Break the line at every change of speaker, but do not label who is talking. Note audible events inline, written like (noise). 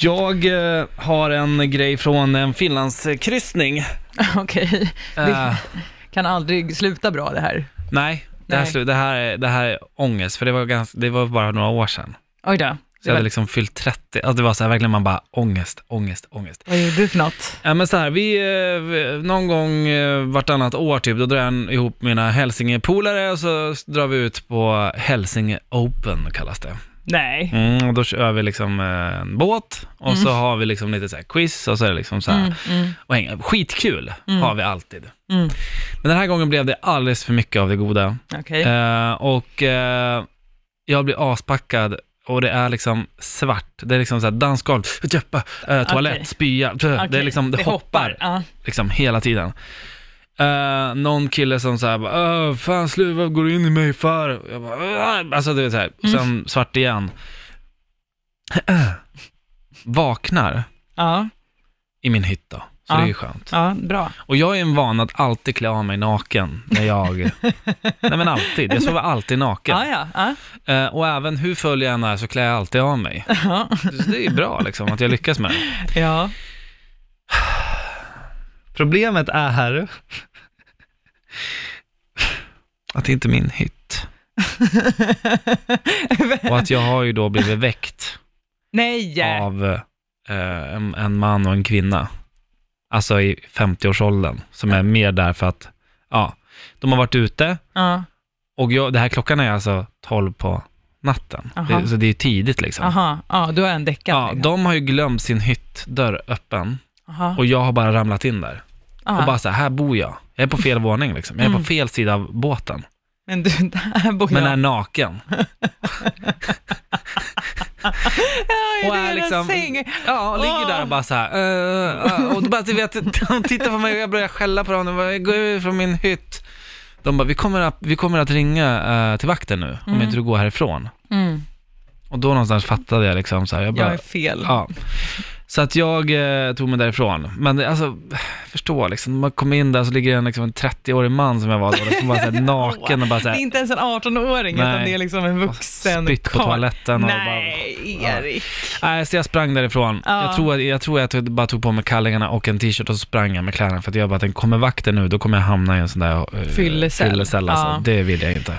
Jag eh, har en grej från en Finlandskryssning.
(laughs) Okej,
Eh,
det kan aldrig sluta bra det här.
nej, det här,
Nej.
slu- det, här är, det här är ångest, för det var, ganska, det var bara några år sedan.
Oj då.
Så jag hade
Vad,
liksom fyllt 30, alltså det var så här, verkligen man bara ångest, ångest, ångest.
vad gjorde du för något?
Ja men så här, vi, eh, vi- någon gång eh, vartannat år typ, då drar jag ihop mina Hälsingepolare och så drar vi ut på Hälsinge Open kallas det.
Nej.
Mm, och då kör vi liksom eh, en båt och så har vi liksom lite så här quiz och så är det liksom så här, och häng, skitkul har vi alltid.
Mm.
Men den här gången blev det alldeles för mycket av det goda.
Okej.
Eh, och eh, jag blir aspackad och det är liksom svart. Det är liksom så här dansgolv, jöppa, eh, toalett,
Okej.
spya. Det, är
Okej,
liksom, det, hoppar
Ja.
liksom hela tiden. Eh, någon kille som såhär bara, "Åh, fan sluva, vad går du in i mig för? Jag bara, "Åh." alltså du vet såhär, mm. sen svart igen. (clears throat) Vaknar
Ja.
i min hytt då, så
Ja.
det är ju skönt.
ja, bra.
Och jag är en van att alltid klä av mig naken när jag, (laughs) nej men alltid, jag sover alltid naken.
Ja, ja. ja.
Eh, och även hur full jag än är så klär jag alltid av mig. Så det är ju bra liksom att jag lyckas med det.
ja.
Problemet är att det inte är min hytt. Och att jag har ju då blivit (laughs) väckt
(laughs) Nej!
av eh, en, en man och en kvinna. Alltså i 50-årsåldern, som är mer där för att, ja, de har varit ute
Ja.
och jag, det här klockan är alltså 12 på natten.
Aha.
Det, så det är ju tidigt liksom.
Aha. Ja, du har en däckat.
Ja,
liksom.
de har ju glömt sin hyttdörr öppen
Aha.
och jag har bara ramlat in där.
Ja.
Och bara så här, här bor jag. Jag är på fel våning liksom. Jag är på
Mm.
fel sida av båten.
Men du, (laughs) där bor
men
jag.
är naken.
ja, i
och är
deras
liksom-
säng.
Ja, och ligger där och bara så här. eh, eh, och då bara, du vet, de tittar på mig och jag börjar skälla på dem. De bara, gå ut från min hytt. De bara, vi kommer att, vi kommer att ringa eh, till vakten nu, om
Mm.
inte du går härifrån.
Mm.
Och då någonstans fattade jag liksom så här, jag bara,
Jag är fel.
ja. Så att jag eh, tog mig därifrån. Men det- alltså, förstå liksom, när man kom in där så ligger det en, liksom, en 30-årig man som jag var då, som var så
(laughs)
här, naken och bara så
Det är
här,
inte ens en 18-åring,
Nej.
utan det är liksom en vuxen
spytt på
karl.
toaletten och bara,
Nej, Erik.
Nej, så jag sprang därifrån.
Ja.
Jag, tror, att- jag tror att jag bara tog på mig kallingarna och en t-shirt och så sprang jag med kläderna för att jag bara tänkte, kommer vakten nu, då kommer jag hamna i en sån där eh,
Fyllecell.
fyllecell alltså.
Ja.
Det vill jag inte.